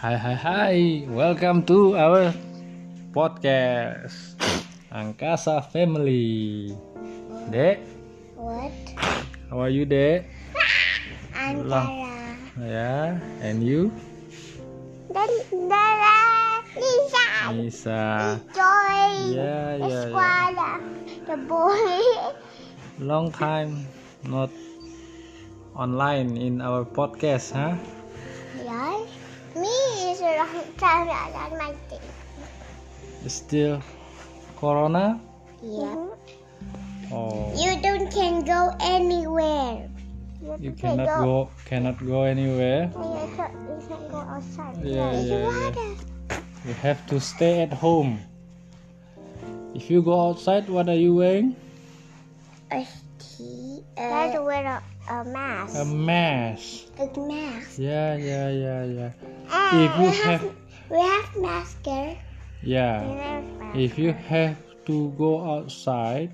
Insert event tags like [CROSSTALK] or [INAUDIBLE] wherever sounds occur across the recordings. Hai hai hai, welcome to our podcast Angkasa Family. Dek, What? how are you Dek? Antara Ya, and you? dan darah Lisa Nisa. join Ya the ya ya. squad the boy Long time not online in our podcast, huh? yeah me is a long time not on my thing Still Corona? yeah Oh, you don't can go anywhere you cannot go, cannot go anywhere. you can, you can go outside Yeah, It's yeah, yeah. water. You have to stay at home. If you go outside, what are you wearing? a tea gotta wear a, a mask A mask. a mask Yeah, yeah, yeah, yeah. and ya, If you we have, have- we have mask here We Yeah. have mask. If you have to go outside,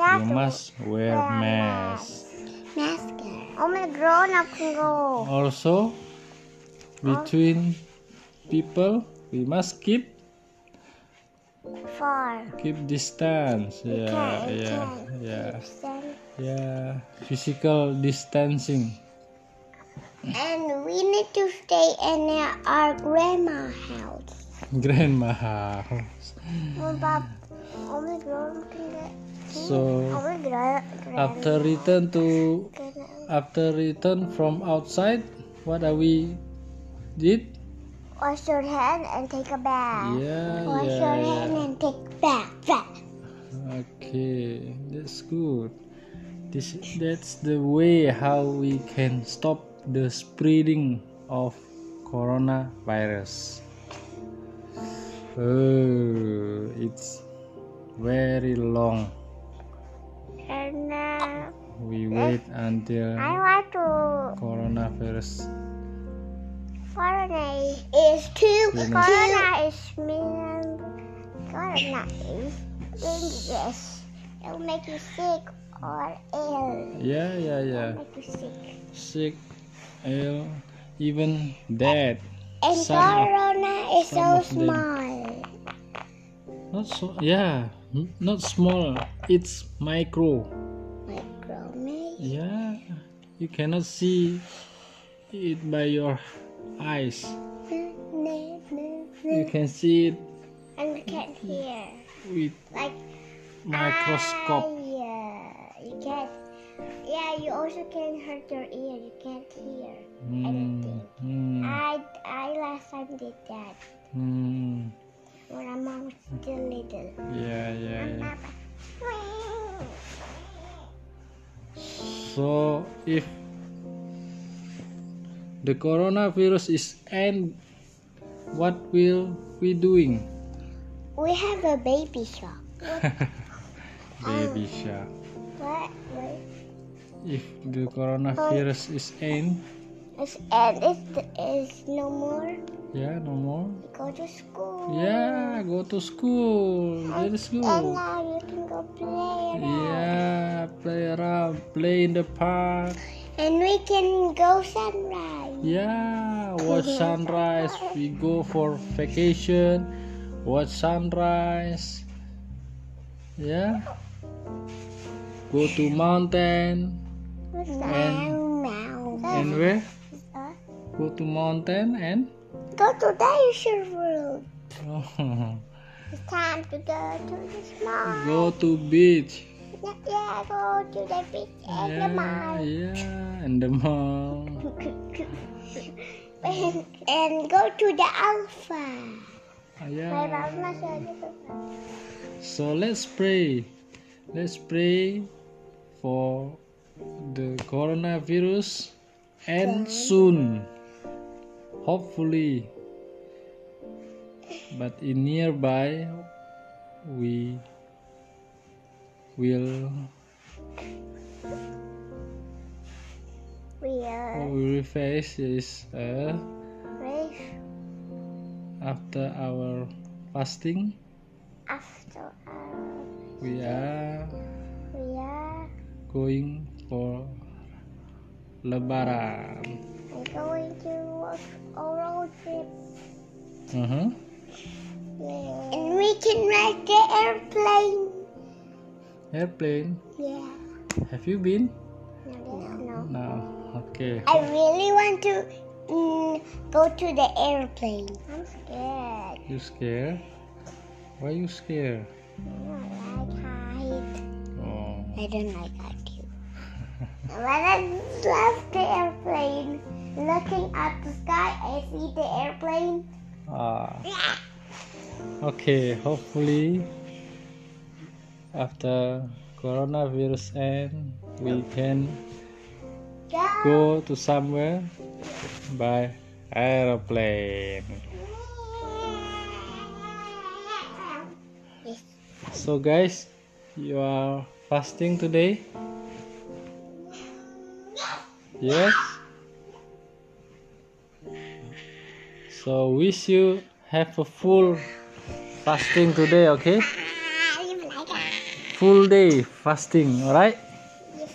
you have to must wear mask. Mascara. Only grown up can go. Also, between people, we must keep Far. keep distance. Ya, Yeah, Okay, yeah, okay. yeah, Understand? yeah. ya. Physical distancing. [LAUGHS] And we need to stay in our grandma house. Grandma house. Well, Bob, only grown up can go. So Only grown grand- after return to grand- after return from outside, what are we did? Wash your hand and take a bath. Yeah, Wash yeah, your hand yeah. and take bath. bath. Okay, that's good. This that's the way how we can stop the spreading of coronavirus. Oh, it's very long. And uh, We wait until I want to. coronavirus. Corona is two. Goodness. Corona is mean. Corona is dangerous. It will make you sick or ill. Yeah, yeah, yeah. Make you Sick, sick. ill, even dead. And Some of- Corona is some so of them. small. Not so. Yeah, n- not small. It's micro. Micro, maybe. Yeah, Ya, you cannot see it by your eyes. You can see it And you can't hear. with Like microscope. I, uh, you can't. Yeah, you also can hurt your ear. You can't hear. Hmm, hmm, I I last time did that. hmm. Ya, when my mom was still little. Yeah, yeah, yeah. Papa. So if the coronavirus is end, what will we doing? We have a baby shop. Baby shark. What? What? If the coronavirus is end, It's, and it's, it's no more. yeah, ya, no more. You go to school. Yeah, go to school. Go to And school. now you can go play around. Yeah, play around, play in the park. And we can go sunrise. Yeah, [LAUGHS] watch sunrise. We go for vacation. Watch sunrise. Yeah. Go to mountain. Meow, meow. And where? Huh? Go to mountain and [LAUGHS] Go to dinosaur world. It's time to go to the small. go to beach. Yeah, yeah, go to the beach and Yeah, the mall. yeah, and the mall. and, and go to the alpha. My Yeah. mama said it was- So let's pray. Let's pray for the coronavirus and soon. Hopefully. But in nearby we will weird. we will face this uh, Race after our fasting after hour. we are We are going for lebaran I'm going to work a road trip. Mm-hmm. Yeah. And we can ride the airplane. Airplane. Yeah. Have you been? No. no. No. Okay. I really want to mm, go to the airplane. I'm scared. You scared? Why you scared? I don't like height. Oh. I don't like height. too. but I love the airplane. Looking at the sky, I see the airplane. Ah. Okay. Hopefully, after coronavirus end, we can Go. go to somewhere by airplane. Yes. So guys, you are fasting today? Yes. So wish you have a full fasting today, okay? Ah, you like that? Full day fasting, alright?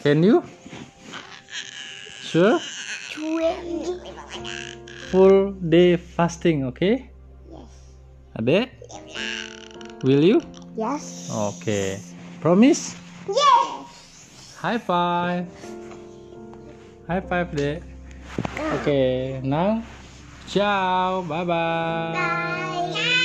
Can you? Sure? Twig. Full day fasting, okay? Yes. Ade? Will you? Yes. Okay. Promise? Yes. High five. High five deh. Oke, now ciao, bye bye. Bye.